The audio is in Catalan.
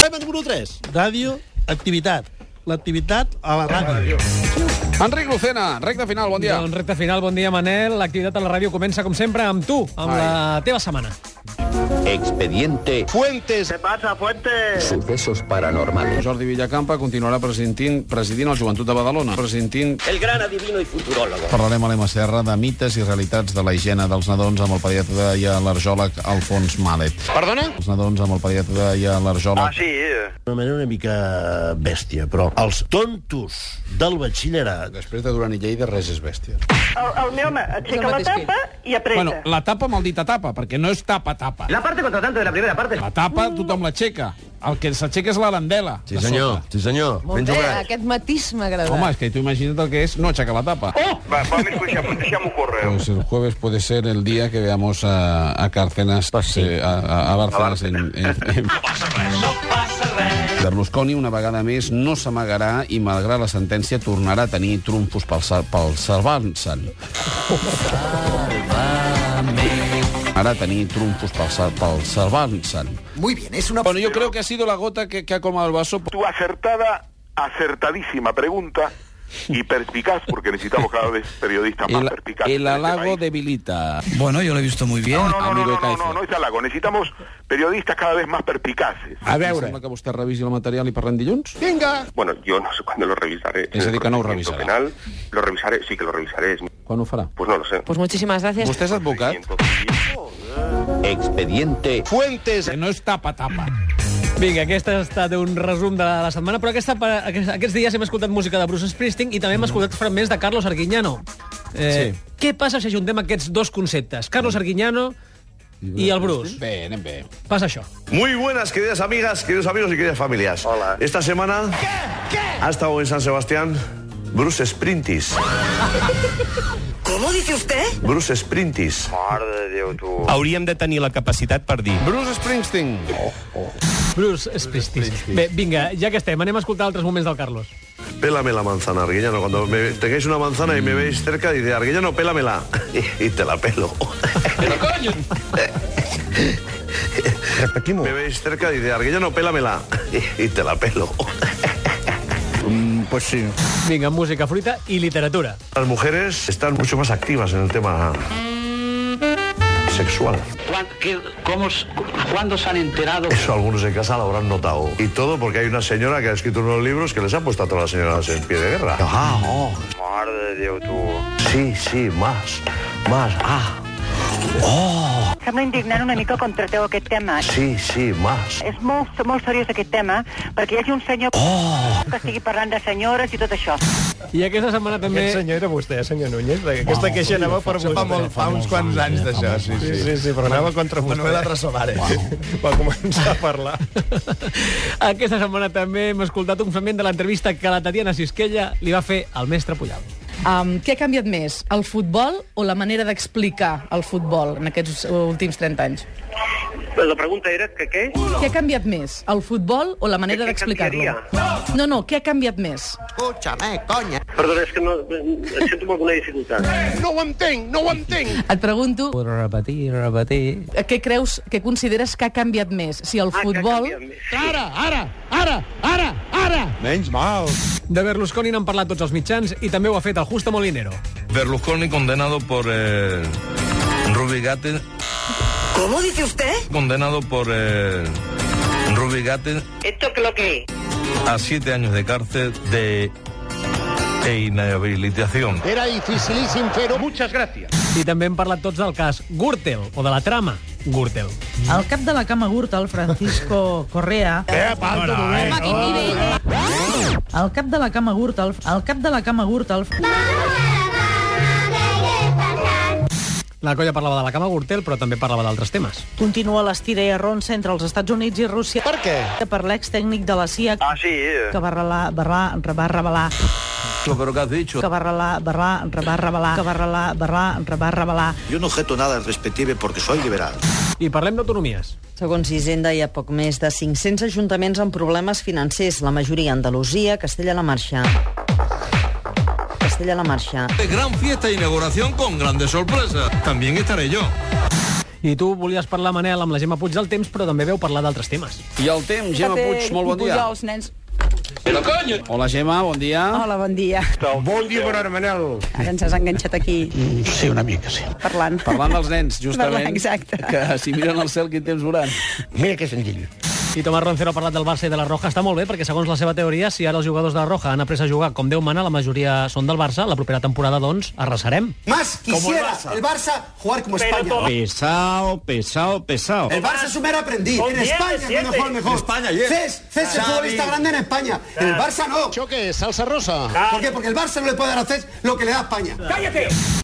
Tema número 3. Ràdio, activitat. L'activitat a la ràdio. Enric Lucena, recta final, bon dia. Doncs recte final, bon dia, Manel. L'activitat a la ràdio comença, com sempre, amb tu, amb Ai. la teva setmana. Expediente Fuentes. Sucesos Paranormales. Jordi Villacampa continuarà presidint, presidint el Joventut de Badalona. Presidint... El gran adivino y futurólogo. Parlarem a l'Emma Serra de mites i realitats de la higiene dels nadons amb el pediatre i l'arjòleg Alfons Malet. Perdona? Els nadons amb el pediatre i l'arjòleg... Ah, sí. eh. D'una manera una mica bèstia, però els tontos del batxillerat... Després de Duran i Lleida, res és bèstia. El, el meu home aixeca la tapa i apreta. Bueno, la tapa maldita tapa, perquè no és tapa-tapa. La parte contratante de la primera parte. Uh. La tapa tothom l'aixeca. El que s'aixeca és l'arandela. Sí, senyor, sí, senyor. Molt bé, aquest matís m'agrada. Home, és que tu imagina't el que és no aixecar la tapa. Oh! Pues el jueves puede ser el día que veamos a, a Cárcenas, pues sí. eh, a, a Bárcenas en, en, en... Berlusconi una vegada més no s'amagarà i malgrat la sentència tornarà a tenir trumfos pel, sal- pel salvant-se'n. Ara tenir trumfos pel, sal- pel salvant-se'n. Muy bien, es una... Bueno, yo creo que ha sido la gota que, que ha colmado el vaso. Tu acertada, acertadísima pregunta y perspicaz, porque necesitamos cada vez periodistas más El, perspicaces. el en este halago país. debilita. Bueno, jo l'he vist molt bé. No, no, no, no, amigo no, no, Kaiser. no, no es halago. Necesitamos periodistas cada vez más perspicaces. A veure. Sembla que vostè revisi el material i parlem dilluns? Bueno, yo no sé cuándo lo revisaré. Es decir, que no lo Procedimiento revisará. penal, lo revisaré, sí que lo revisaré. Quan ho farà? Pues no lo sé. Pues muchísimas gracias. Vostè és advocat? Expediente Fuentes. Que no és tapa-tapa. Vinga, aquest ha estat un resum de la setmana, però aquesta, pa- aquests, aquests dies hem escoltat música de Bruce Springsteen i també hem escoltat fragments de Carlos Arguiñano. Eh, sí. Què passa si ajuntem aquests dos conceptes? Carlos Arguiñano i el Bruce. Bé, anem bé. Passa això. Muy buenas, queridas amigas, queridos amigos y queridas familias. Hola. Esta semana ha estado en San Sebastián Bruce Sprintis. ¿Cómo dice usted? Bruce Sprintis. Hauríem de tenir la capacitat per dir Bruce Springsteen. Bruce Springsteen. Bé, vinga, ja que estem, anem a escoltar altres moments del Carlos. Pélame la manzana, Arguillano. Cuando me tengáis una manzana y me veis cerca, dice, Arguillano, pélamela. Y te la pelo. Repetim-ho. Me veis cerca, dice, Arguillano, pélamela. Y te la pelo. Pues sí. Vinga, música, fruita i literatura. Las mujeres están mucho más activas en el tema sexual. ¿Cuándo se han enterado? Eso algunos en casa lo habrán notado. Y todo porque hay una señora que ha escrito unos libros que les ha puesto a todas las señoras en pie de guerra. Ajá, oh. Sí, sí, más, más, ah. Sembla indignant una mica com trateu aquest tema. Sí, sí, más. És molt, molt seriós aquest tema, perquè hi hagi un senyor oh. que estigui parlant de senyores i tot això. I aquesta setmana també... Aquest senyor era vostè, eh, senyor Núñez. Aquesta queixa anava per vostè. Fa, molt, fa uns quants anys d'això, sí, Sí, sí. sí, sí, però anava contra La vostè. novel·la Trasomares. Va començar a parlar. Aquesta setmana també hem escoltat un fragment de l'entrevista que la Tatiana Sisquella li va fer al mestre Pujol. Um, què ha canviat més, el futbol o la manera d'explicar el futbol en aquests últims 30 anys? Pues La pregunta era que què? Què ha canviat més, el futbol o la manera d'explicar-lo? No, no, què ha canviat més? Perdona, és que no... eh, Sento alguna Ah, dificultat. Et pregunto... Repetir, repetir... Què creus, què consideres Ah, que ha canviat més? Si el futbol... Menys mal. De Berlusconi n'han parlat tots els mitjans i també ho ha fet el Justo Molinero. Berlusconi condenado por eh, Rubigate. ¿Cómo dice usted? Condenado por eh, Rubigate ¿Esto qué lo que a siete años de cárcel de e inhabilitación. I també hem parlat tots del cas Gürtel, o de la trama Gürtel. El cap de la cama curta, el Francisco Correa... eh. El cap de la cama curta, el, el cap de la cama curta... El... La colla parlava de la cama Gürtel, però també parlava d'altres temes. Continua l'estira i arronsa entre els Estats Units i Rússia. Per què? Per l'ex-tècnic de la CIA... Ah, sí? eh. Que va revelar... Va, re- va revelar... Pero que has dicho. Que va revelar... Va, re- va revelar... Que va revelar... Va, re- va revelar... Yo no objeto nada al respective porque soy liberal. I parlem d'autonomies. Segons Hisenda, hi ha poc més de 500 ajuntaments amb problemes financers, la majoria a Andalusia, Castella-La Marxa. Castella-La Marxa. Gran fiesta de inauguración con grandes sorpresas. También estaré yo. I tu volies parlar, Manel, amb la Gemma Puig del temps, però també veu parlar d'altres temes. I el temps, Gemma Puig, molt bon dia. els nens. Hola, Gemma, bon dia. Hola, bon dia. Bon dia, bona hora, Manel. Ara ens has enganxat aquí Sí, una mica, sí. parlant. Parlant dels nens, justament. Parlant, exacte. Que si miren al cel, quin temps veuran. Mira que senzill. I Tomàs Roncero ha parlat del Barça i de la Roja. Està molt bé, perquè segons la seva teoria, si ara els jugadors de la Roja han après a jugar com Déu mana, la majoria són del Barça, la propera temporada, doncs, arrasarem. Más quisiera el Barça, jugar como España. Pesao, pesao, pesao. El Barça es un mero aprendiz. Con En diez, España, siete. mejor, mejor. En España, diez. Cés, Cés es el Xavi. futbolista grande en España. En el Barça no. Choque, salsa rosa. ¿Por qué? Porque el Barça no le puede dar a Cés lo que le da a España. ¡Cállate!